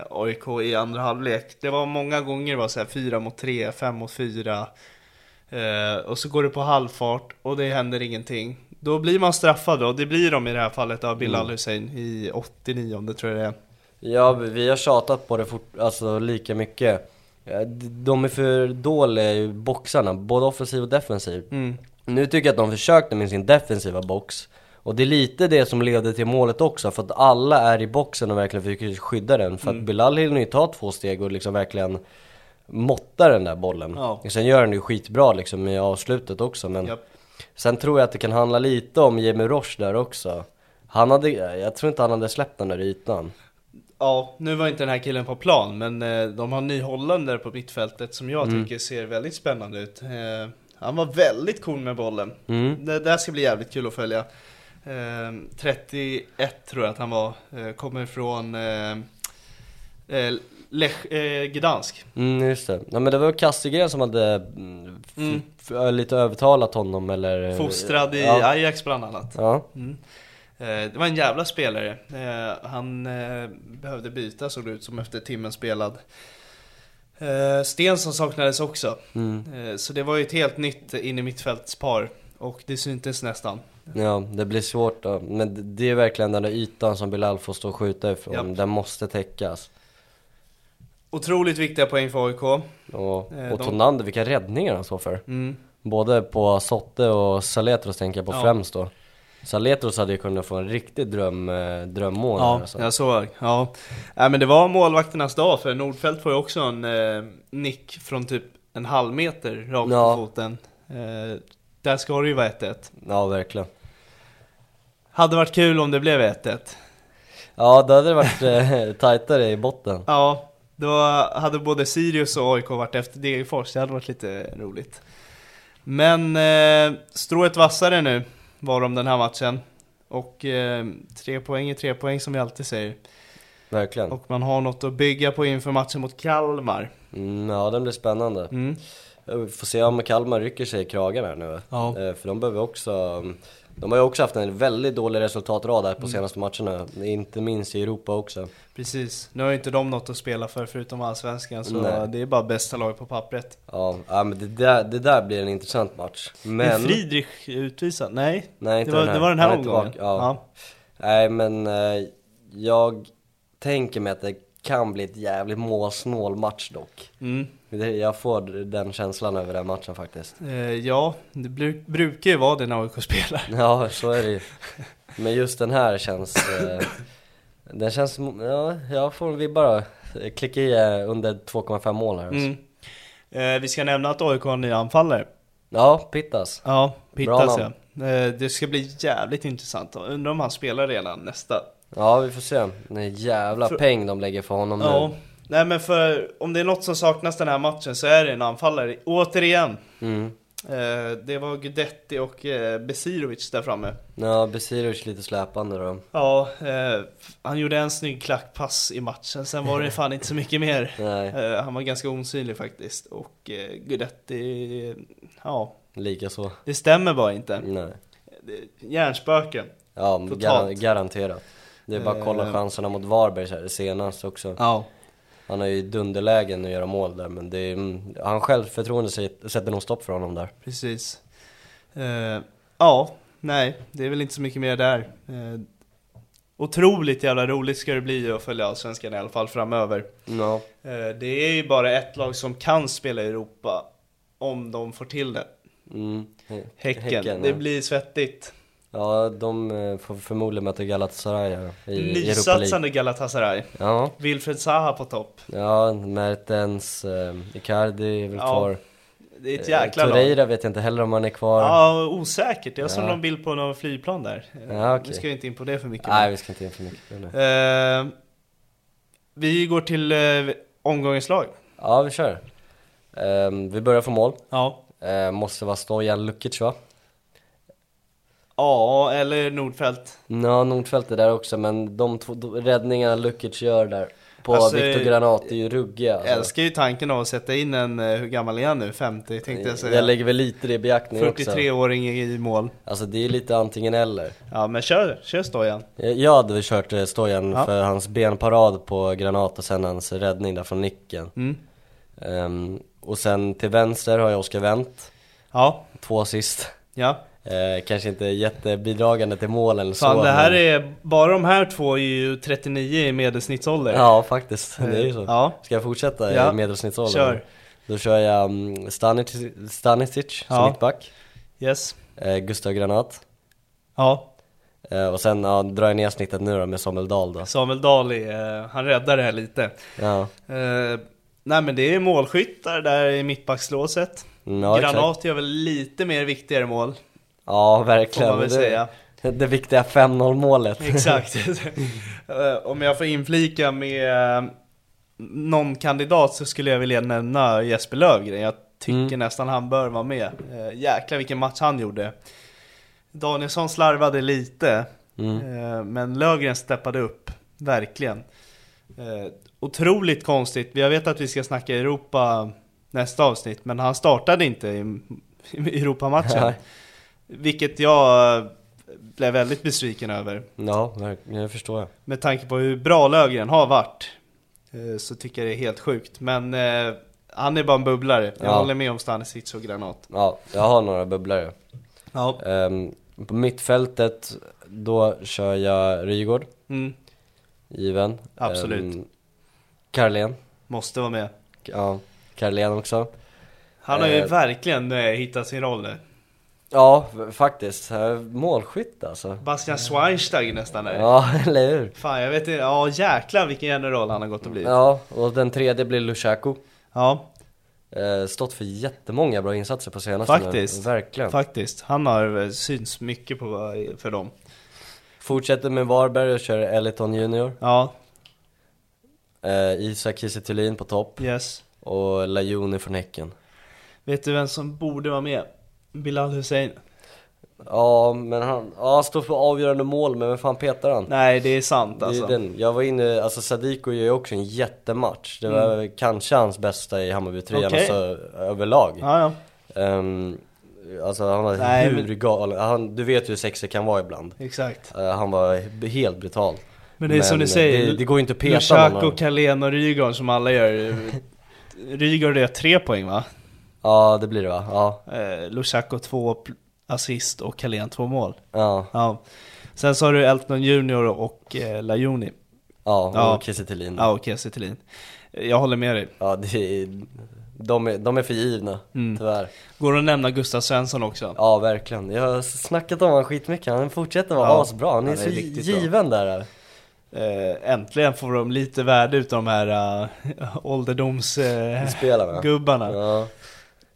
AIK i andra halvlek. Det var många gånger det var så här 4 mot 3, 5 mot 4. Eh, och så går det på halvfart och det händer ingenting. Då blir man straffad och det blir de i det här fallet av Bilal
Mm.
Hussein i 89 tror jag det är.
Ja, vi har tjatat på det fort, alltså lika mycket. Eh, d- De är för dåliga i boxarna, både offensiv och defensiv.
Mm.
Nu tycker jag att de försökte med sin defensiva box. Och det är lite det som leder till målet också, för att alla är i boxen och verkligen försöker skydda den. För
Mm.
att Bilal hinner ju ta två steg och liksom verkligen måtta den där bollen.
Ja.
Sen gör han det ju skitbra liksom i avslutet också, men
Japp.
sen tror jag att det kan handla lite om Jamie Roche där också. Han hade, jag tror inte han hade släppt den där ytan.
Ja, nu var inte den här killen på plan, men eh, de har nyholländare på mittfältet som jag
Mm.
tycker ser väldigt spännande ut. Eh, han var väldigt cool med bollen.
Mm.
Det där ska bli jävligt kul att följa. Eh, 31 tror jag att han var, eh, kommer från eh, eh, Lech, eh, Gdansk.
Mm, just det. Ja, men det var Kastegren som hade mm, f-
Mm.
f- lite övertalat honom eller...
Fostrad i
Eh, ja.
Ajax bland annat.
Ja.
Mm. Eh, Det var en jävla spelare. Eh, Han eh, behövde byta såg det ut som efter timmen spelad. Eh, Stensson saknades också.
Mm.
Eh, Så det var ju ett helt nytt in i mittfältspar. Och det syntes nästan.
ja, det blir svårt då. Men det- det är verkligen den där ytan som Bilal får stå och skjuta ifrån.
Japp.
Den måste täckas.
Otroligt viktiga poäng för AIK.
Och,
Eh, de-
och Tonander, vilka räddningar han står för.
Mm.
Både på Sotte och Saletros tänker jag på
Ja.
främst då. Saletros hade ju kunnat få en riktig dröm, eh, drömmål
Ja,
där, alltså.
jag såg. Ja. Nej, men det var målvakternas dag för Nordfeldt får ju också en eh, nick från typ en halv meter rakt
Ja.
på foten. Eh, där ska det ju vara 1-1.
ja, verkligen.
Hade varit kul om det blev 1-1.
Ja, då hade det varit eh, tajtare i botten.
Ja, då hade både Sirius och AIK varit efter Degerfors, det hade varit lite roligt. Men eh, strået vassare nu var de den här matchen. Och eh, tre poäng är tre poäng som vi alltid säger.
Verkligen.
Och man har något att bygga på inför matchen mot Kalmar.
Mm, ja, den blir spännande. Eh,
Mm.
Vi får se om Kalmar rycker sig i kragen här nu.
Ja.
Eh, För de behöver också... De har ju också haft en väldigt dålig resultatrad här
Mm.
på senaste matcherna. Inte minst i Europa också.
Precis, nu har ju inte de något att spela för förutom Allsvenskan så
Nej.
det är bara bästa lag på pappret.
Ja, ja, men det där, det där blir en intressant match.
Men
Men...
Friedrich är utvisad? Nej,
Nej, inte
det, var,
den här.
det var den här
Han är
omgången.
tillbaka, ja. Nej, men eh, jag tänker mig att det kan bli ett jävligt målsnål match dock.
Mm.
Det- Jag får den känslan över den matchen faktiskt.
Eh, ja, det bru- brukar ju vara det när AIK spelar.
Ja, så är det ju. Men just den här känns... Eh, den känns... som- Ja, jag får vi bara klicka i eh, under 2,5 mål här. Alltså.
Mm. Eh, vi ska nämna att AIK har en ny anfallare.
Ja, Pittas.
Ja, Pittas
namn.
ja. Eh, det ska bli jävligt intressant. Undrar om han spelar redan nästa.
Ja, vi får se. Den jävla
För-
peng de lägger för honom
Ja.
nu.
Nej men för om det är något som saknas den här matchen så är det en anfallare. Återigen.
Mm.
Eh, det var Gudetti och eh, Besirovic där framme.
Ja, Besirovic lite släpande då.
Ja, eh, han gjorde en snygg klackpass i matchen, sen var det fan inte så mycket mer.
Nej.
Eh, han var ganska osynlig faktiskt. Och eh, Gudetti, eh, ja,
Lika så.
det stämmer bara inte.
Nej.
Det- Hjärnspöken.
Ja, men
Totalt.
gar- garanterat. Det är bara att kolla
Eh.
chanserna mot Varberg så här, senast också.
Ja.
Han har ju dunderlägen att göra mål där, men det är, mm, han självförtroende sätt- sätter nog stopp för honom där.
Precis. Eh, ja, nej, det är väl inte så mycket mer där. Eh, otroligt jävla roligt ska det bli att följa Allsvenskan i alla fall framöver.
Ja,
Eh, det är ju bara ett lag som kan spela i Europa om de får till det.
mm.
Häcken, det
ja.
blir svettigt.
ja, de eh, får förmodligen möta Galatasaray här i i Europa League.
Nysatsande Galatasaray.
Ja,
Wilfred Zaha på topp.
ja, Mertens, eh, Icardi är väl
Ja,
kvar.
Det är ett
Eh,
jäkla lag.
Torreira vet jag inte heller om han är kvar.
Ja, osäkert. Jag såg
Ja.
någon bild på någon flygplan där. Eh,
Ja, okej.
Vi ska ju inte in på det för mycket.
Nej, vi ska inte in för mycket på det nu.
Eh, vi går till eh, omgångens lag.
Ja, vi kör. Ehm, vi börjar från mål.
Ja.
Eh, måste vara Stojan Lukic va?
ja, eller Nordfeldt.
Ja, Nordfeldt är där också, men de två de, räddningarna Lukic gör där på
Alltså,
Viktor Granat är ju ruggiga. alltså.
Jag älskar ju tanken av att sätta in en, eh, hur gammal är han nu? 50 tänkte jag
jag
säga.
lägger väl lite det i beaktning också.
43-åring i mål.
Alltså det är lite antingen eller.
Ja, men kör, kör Stojan.
Jag jag hade väl kört eh, Stojan
Ja.
för hans benparad på Granat och sen hans räddning där från nicken.
Mm.
Ehm, och sen till vänster har jag Oskar Wendt,
Ja,
två assist.
ja.
Eh, kanske inte jättebidragande till målen eller så.
Fan, det här
men-
är, bara de här två är ju 39 i medelsnittsålder.
Ja faktiskt, det är ju så.
Ja,
Ska jag fortsätta
Ja.
i medelsnittsåldern?
Kör.
Då kör jag um, Stanisic, Stanisic som
Ja.
mittback,
yes.
eh, Gustav Granat
Ja,
eh, och sen ja, drar jag ner snittet nu då med Samuel Dahl då.
Samuel Dahl är, eh, han räddar det här lite.
Ja.
Eh, nej men det är målskyttar där i mittbackslåset.
Mm, ja, exakt.
Granat gör väl lite mer viktigare mål,
Ja
får
verkligen.
man väl
Det-
säga.
Det viktiga 5-0 målet.
Exakt. Eh, Om jag får inflika med eh, någon kandidat så skulle jag vilja nämna Jesper Lövgren. Jag tycker
Mm.
nästan han bör vara med. Eh, Jäklar vilken match han gjorde. Danielsson slarvade lite,
Mm.
eh, men Lövgren steppade upp, verkligen. Eh, Otroligt konstigt. Jag vet att vi ska snacka Europa nästa avsnitt, men han startade inte i i Europamatchen.
Nej.
Vilket jag eh, blev väldigt besviken över.
Ja, verkligen, det förstår jag.
Med tanke på hur bra Lögren har varit eh, så tycker jag det är helt sjukt. Men eh, han är bara en bubblare. Jag
Ja.
håller med om Stanisic och Granat.
Ja, jag har några bubblare.
Ja.
Ehm, på mittfältet, då kör jag Rygaard,
Mm,
given.
Absolut.
Ehm, Carlén,
måste vara med.
ja, Carlén också.
Han har ju
Eh.
verkligen eh, hittat sin roll nu.
Ja, v- faktiskt. Eh, Målskytt alltså.
Bastian Schweinsteiger nästan där.
Ja, eller hur?
Fan jag vet inte, ja jäklar vilken jävla roll han har gått och blivit. Ja.
Ja, och den tredje blir Lushaku.
ja,
Eh, Stått för jättemånga bra insatser på senaste
Faktiskt.
Nu. Alltså, Verkligen.
faktiskt. Han har eh, syns mycket på, eh, för dem.
Fortsätter med Varberg och kör Eliton Junior.
Ja,
Eh, Isak Kiese Thulin på topp.
yes.
Och Lajoni från Häcken.
Vet du vem som borde vara med? Bilal Hussein.
Ja, men han, ja, han står för avgörande mål, men vem fan petar han?
Nej det är sant
Det är
alltså.
den. Jag var inne, alltså Sadiko gör ju också en jättematch. Det var kanske hans bästa i Hammarby-tröjan
Mm. Okej.
alltså, överlag.
Ja, ja,
Ehm, alltså han var
Nej,
hur
men-
galen, han, du vet ju hur sexig kan vara ibland.
exakt.
Eh, han var b- helt brutal.
Men det är som du säger,
det, det går ju inte att peta någon.
Lushako,
av dem.
Carlén och Rygaard som alla gör. Rygaard gör tre poäng va?
Ja det blir det va? Ja.
Eh, Lushako två pl- assist och Carlén två mål.
ja. Mm.
Ja. Sen så har du Elton Junior och eh, Lajoni.
Ja, och
Ja.
Kiese Thelin.
Ja, och Kiese Thelin. Jag håller med dig.
Ja, det är, de, är, de är för givna,
Mm.
tyvärr.
Går det att nämna Gustav Svensson också?
Ja, verkligen. Jag har snackat om honom skitmycket, han fortsätter vara
Ja.
asbra. Han är,
Han är
så
riktigt
given där.
Eh, äntligen får de lite värde utav de här eh, uh,
Spelarna.
ålderdomsgubbarna.
Ja.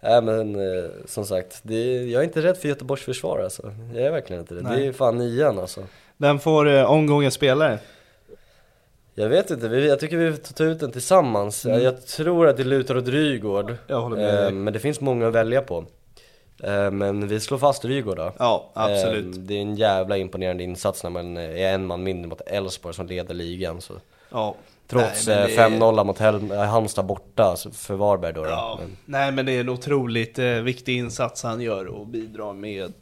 Nej men eh, som sagt, det är, jag är inte rädd för Göteborgs försvar alltså. Jag är verkligen inte det. Det
Nej.
är fan nian alltså.
Den får eh, omgången spelare.
Jag vet inte, vi, jag tycker vi får ta ut den tillsammans.
Mm.
Jag tror att det lutar åt Rygård.
Jag håller med dig.
Eh, Men det finns många att välja på. Eh, Men vi slår fast Rygård då.
Ja, absolut.
Eh, Det är en jävla imponerande insats när man är en man mindre mot Elfsborg som leder ligan. Så.
Ja.
Trots
Nej, men
eh,
det-
5-0 mot Hel- eh, Halmstad borta så- för Varberg då. då.
Ja.
Men-
Nej men det är en otroligt eh, viktig insats han gör och bidrar med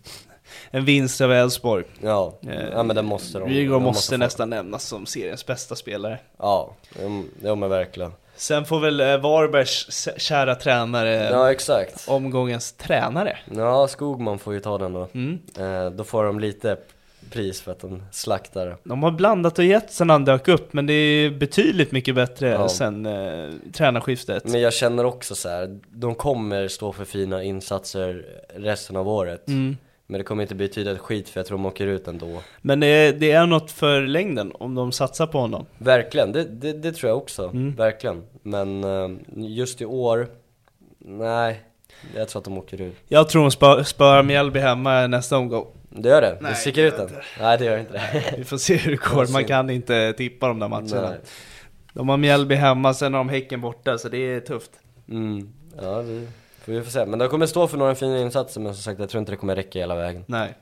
en vinst över Elfsborg.
Ja.
Eh,
ja, men det måste de.
Rygaard
de
måste,
få-
nästan nämnas som seriens bästa spelare.
Ja, mm, jo men verkligen.
Sen får väl eh, Varbergs s- kära tränare
Ja exakt.
omgångens tränare.
Ja, Skogman får ju ta den då.
Mm.
Eh, då får de lite pris för att de slaktar det.
De har blandat och gett sen han dök upp, men det är betydligt mycket bättre
Ja. Mm.
sen eh, tränarskiftet.
Men jag känner också så här, de kommer stå för fina insatser resten av året.
Mm.
Men det kommer inte betyda ett skit för jag tror de åker ut ändå.
Men det är, det är något för längden om de satsar på honom.
Verkligen, det, det, det tror jag också.
Mm.
Verkligen. Men eh, just i år, nej. Jag tror att de åker ut.
Jag tror de spö- spöar Mjällby hemma nästa omgång.
Det gör det?
Nej,
du
det
sticker
gör
ut den? Nej det gör inte det.
Vi får se hur det går, man kan inte tippa de där matcherna.
Nej.
De har Mjällby hemma, sen har de Häcken borta, så det är tufft.
Mm. Ja, vi, får vi får se. Men de kommer stå för några fina insatser men som sagt jag tror inte det kommer räcka hela vägen.
Nej.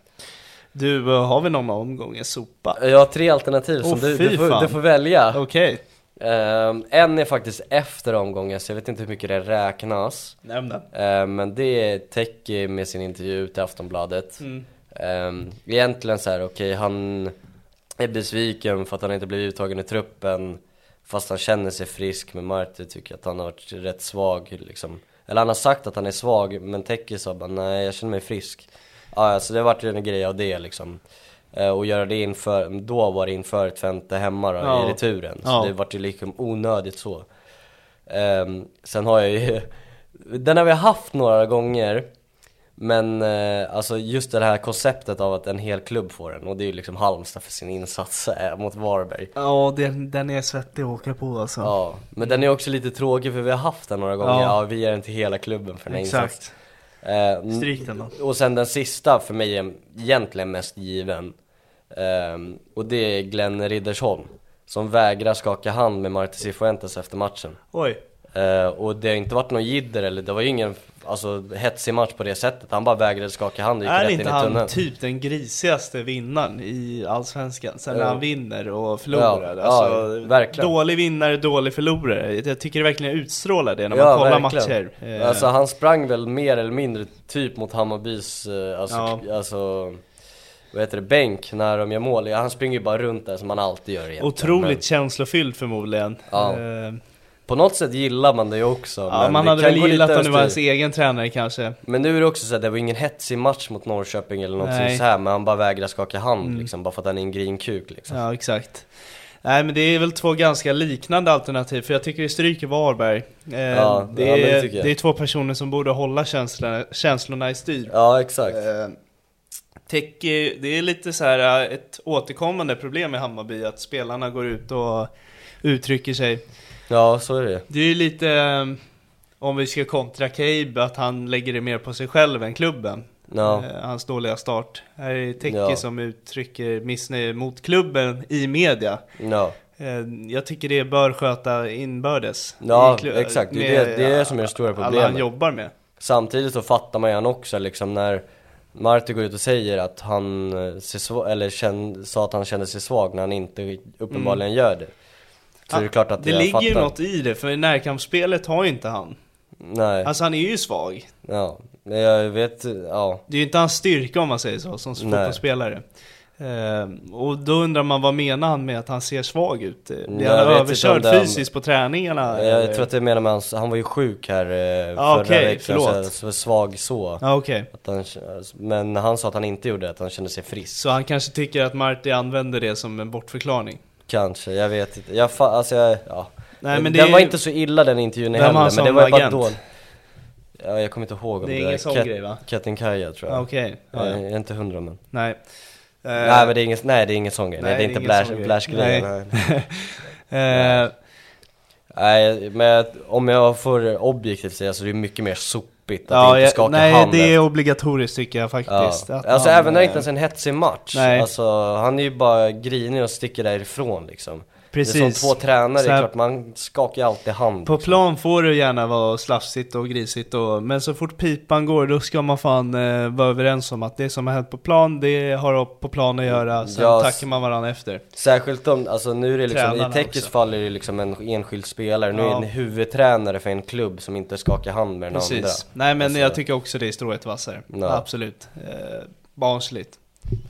Du, eh, har vi någon omgång i sopa?
Jag har tre alternativ som
Åh,
du,
fy
du, får,
fan.
du får välja.
Okej,
Ehm, en är faktiskt efter omgången så jag vet inte hur mycket det räknas.
nämn den.
Ehm, men det är Teki med sin intervju till Aftonbladet.
Mm.
Ehm, egentligen så här, okej han är besviken för att han inte blev uttagen i truppen. Fast han känner sig frisk men Marti tycker att han har varit rätt svag liksom. Eller han har sagt att han är svag men Teki sa bara nej jag känner mig frisk. Ja, så det har varit en grej av det liksom. Eh, Och göra det inför, då var det inför ett femte hemma då,
Ja.
i returen. Så
Ja.
det vart ju liksom onödigt så. Ehm, sen har jag ju, den har vi haft några gånger. Men eh, alltså just det här konceptet av att en hel klubb får den och det är ju liksom Halmstad för sin insats eh, mot Varberg.
Ja, den, den är svettig att åka på alltså.
Ja, men den är också lite tråkig för vi har haft den några gånger.
Ja.
Ja, vi ger den till hela klubben för den här insatsen.
Exakt.
Ehm,
Stryk den då.
Och sen den sista för mig är egentligen mest given. Ehm, och det är Glenn Riddersholm. Som vägrar skaka hand med Marti Cifuentes efter matchen.
Oj.
Ehm, och det har inte varit någon jidder eller det var ju ingen alltså, hetsig match på det sättet. Han bara vägrade skaka hand och gick
Är
rätt in i
inte han
tunneln.
typ den grisigaste vinnaren i Allsvenskan? Sen när
Ja.
han vinner och förlorar.
Ja,
alltså,
ja, verkligen.
Dålig vinnare, dålig förlorare. Jag tycker det verkligen utstrålar det när
Ja,
man kollar
verkligen.
matcher. Eh,
Alltså han sprang väl mer eller mindre typ mot Hammarbys, eh, alltså,
Ja.
alltså vad heter det, bänk när de gör mål. Ja, Han springer ju bara runt där som han alltid gör egentligen.
otroligt
Men
känslofylld förmodligen.
Ja.
Eh,
På något sätt gillar man det ju också.
ja, man
det
hade
kan
väl
gå
gillat
lite
om det var ens
överstyr.
egen tränare kanske.
Men nu är det också så att det var ingen hetsig match mot Norrköping eller
Nej.
någonting så här men han bara vägrar skaka hand
Mm.
liksom, bara för att han är en green kuk liksom.
Ja, exakt. Nej men det är väl två ganska liknande alternativ, för jag tycker vi stryker Varberg. Eh,
Ja,
det,
ja, men det
är,
tycker jag.
det är två personer som borde hålla känslorna, känslorna i styr.
Ja, exakt.
Eh. Tech, är- det är lite så här eh, ett återkommande problem i Hammarby att spelarna går ut och uttrycker sig.
Ja, så är det ju.
Det är ju lite, eh, om vi ska kontra Cabe, att han lägger det mer på sig själv än klubben.
Ja.
Eh, Hans dåliga start. Här är Teke
Ja.
som uttrycker missnöje mot klubben i media.
Ja,
Eh, Jag tycker det bör sköta inbördes.
Ja,
I klu-
exakt. Det är det- det är det som är det stora
Alla han
problemet.
jobbar med.
Samtidigt så fattar man ju han också liksom när Marti går ut och säger att han eh, ser sva- eller känn, sa att han kände sig svag när han inte uppenbarligen gör det. Så det är klart att
Mm. Ah, det
jag
ligger ju
fattar.
något i det, för närkampsspelet har ju inte han.
Nej,
Alltså han är ju svag.
ja. Men Jag vet, ja.
Det är ju inte hans styrka om man säger så, som
Nej.
fotbollsspelare. Eh, och då undrar man vad menar han med att han ser svag ut? Eh,
Nej,
Blir
jag
han
vet inte
överkörd
om det-
fysiskt på träningarna?
Jag
eller?
tror att jag menar med hans, han var ju sjuk här eh,
Ja,
förra
okej,
veckan så,
förlåt.
så svag så.
Ja, okej.
Att han, alltså, men han sa att han inte gjorde det, att han kände sig frisk.
Så han kanske tycker att Marti använder det som en bortförklaring?
Kanske, jag vet inte. Jag fa- alltså jag, ja.
Nej, men det
den
är
var
ju-
inte så illa den intervjun
Vem har
heller, men
som
det var ju bara
agent?
dåligt. Ja, jag kommer inte ihåg om
Det är
det,
ingen
är
sån
Kat-
grej, va?
Katinkaja tror jag.
Ah, okej. Ja, ja.
Jag är inte hundra men.
Nej.
nej men det är ingen, nej det är ingen sån grej. Nej, det är inte
ingen
Blash,
sån grej.
Blash grejen.
Nej. Eh,
Nej. nej men om jag får objektivt säga så är det mycket mer sopigt att
Ja,
inte
jag,
skaka
nej
hand
det är obligatoriskt tycker jag faktiskt.
Ja.
Att
Alltså
man,
även när det
eh,
inte ens är en hetsig match.
Nej.
Alltså, han är ju bara grinig och sticker därifrån liksom. Det är
Precis.
som två tränare,
Så
det är
här-
klart man skakar ju alltid hand.
På plan får det gärna vara slafsigt och grisigt och, men så fort pipan går då ska man fan eh, vara överens om att det som har hänt på plan, det har på plan att göra, sen
Ja, s-
tackar man varandra efter.
Särskilt om, alltså nu är det liksom,
Tränarna
i Tekes
också.
fall är det liksom en enskild spelare, nu är
Ja.
det en huvudtränare för en klubb som inte skakar hand med den
Precis.
andra.
Nej men
Alltså,
jag tycker också det är strået vassare.
Ja.
Absolut. Eh, barnsligt.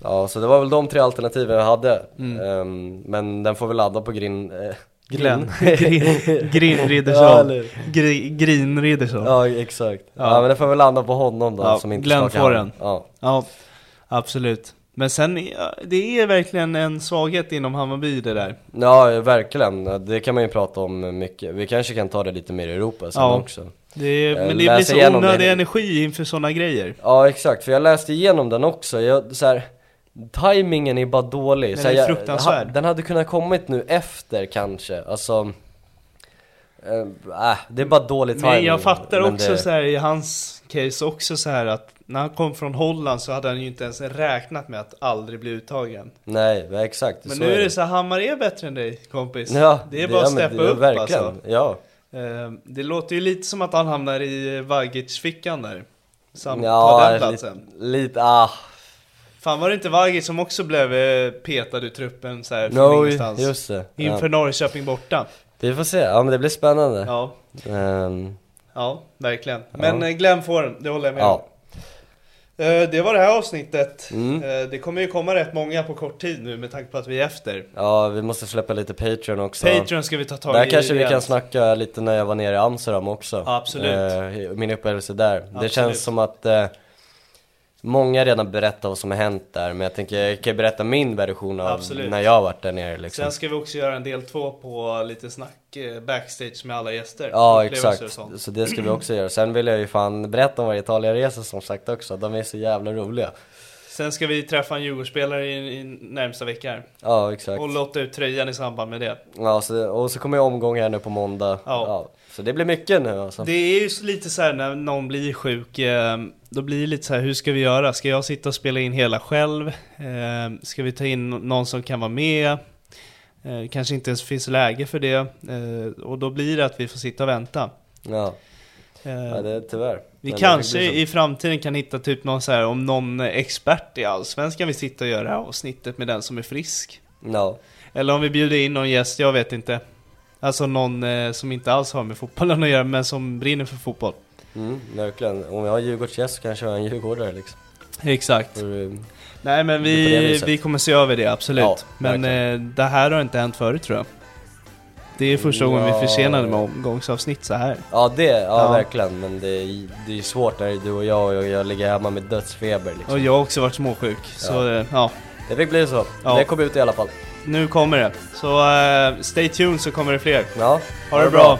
Ja, så det var väl de tre alternativen jag hade.
Mm.
Ehm, men den får vi ladda på Grin... eh,
Glenn.
Grin-
Grin
Ja,
Riddersson.
eller-
Gri, Grin Riddersson.
Ja, exakt. Ja. men det får väl landa på honom då
Ja,
som inte
Glenn
skakar
får
hand.
den.
Ja.
absolut. Men sen, är- det är verkligen en svaghet inom Hammarby det där.
Ja, verkligen. Det kan man ju prata om mycket. Vi kanske kan ta det lite mer i Europa sen
Ja.
också.
Det är,
Eh,
men det
läs
blir så
igenom det.
onödig energi inför sådana grejer.
Ja, exakt. För jag läste igenom den också. Jag, så här, timingen är bara dålig.
Den
så här,
är
jag,
fruktansvärd.
ha- Den hade kunnat kommit nu efter kanske. Alltså, eh, äh, det är bara dålig timing.
Men jag fattar
Men
också
det-
så här i hans case också så här att när han kom från Holland så hade han ju inte ens räknat med att aldrig bli uttagen.
Nej, ja, exakt.
Men
så
nu är det så här, Hammar är bättre än dig kompis.
Ja,
det är bara att
ja, men
steppa
det-
upp
verkligen.
alltså.
Ja.
Eh, Det låter ju lite som att han hamnar i eh, Vagic-fickan där. Sam,
Ja,
tar den
lite,
platsen.
lite, ah.
Fan var det inte Vagic som också blev eh, petad ur truppen så här
No,
från ingenstans?
just det. Ja.
Inför Norrköping borta.
Vi får se. Ja, men det blir spännande.
Ja.
Ehm,
Ja, verkligen. Men eh, Glenn får den, det håller jag med
Ja.
om. Eh, Det var det här avsnittet.
Mm.
Eh, Det kommer ju komma rätt många på kort tid nu med tanke på att vi är efter.
Ja, vi måste släppa lite Patreon också
Patreon ska vi ta tag
Där
i
kanske vi
rejält.
kan snacka lite när jag var nere i Amsterdam också
Absolut.
Eh, Min upplevelse där Det
Absolut.
känns som att eh, Många redan berättar vad som har hänt där Men jag tänker, jag kan ju berätta min version av
Absolut.
när jag har varit där nere liksom
Sen ska vi också göra en del två på lite snack eh, backstage med alla gäster.
Ja
Upplevelser och
exakt,
sånt.
så det ska vi också göra. Sen vill jag ju fan berätta om varje Italienresa som sagt också, de är så jävla roliga.
Sen ska vi träffa en Djurgårdsspelare i, i närmsta vecka här.
Ja exakt.
Och låta ut tröjan i samband med det.
Ja, så, och så kommer jag omgång här nu på måndag.
Ja.
så det blir mycket nu alltså.
Det är ju lite så här när någon blir sjuk, eh, då blir det lite så här, hur ska vi göra? Ska jag sitta och spela in hela själv? Eh, Ska vi ta in någon som kan vara med? Eh, Kanske inte ens finns läge för det. Eh, Och då blir det att vi får sitta och vänta.
Ja.
Eh,
ja, det är tyvärr.
Vi
Men det
kanske
blir så.
i framtiden kan hitta typ någon så här, om någon expert i Allsvenskan vill sitta och göra det här avsnittet med den som är frisk.
Ja.
Eller om vi bjuder in någon gäst, jag vet inte. Alltså någon eh, som inte alls har med fotbollen att göra, men som brinner för fotboll.
Mm, verkligen. Om jag har Djurgårdsgäst så kanske jag har en djurgårdare liksom.
Exakt.
För, eh,
Nej men
Det är på det
vi,
viset.
vi kommer se över det, absolut.
Ja,
men eh, det här har inte hänt förut tror jag. Det är första gången vi är
Ja.
försenade med omgångsavsnitt så här.
Ja det, ja,
Ja.
verkligen. Men det är, det är ju svårt när det är du och jag och jag ligger hemma med dödsfeber liksom.
Och jag har också varit småsjuk, så eh, ja.
Det fick bli så.
Ja.
Det kom ut i alla fall.
Nu kommer det. Så eh, stay tuned så kommer det fler.
Ja.
Ha det bra!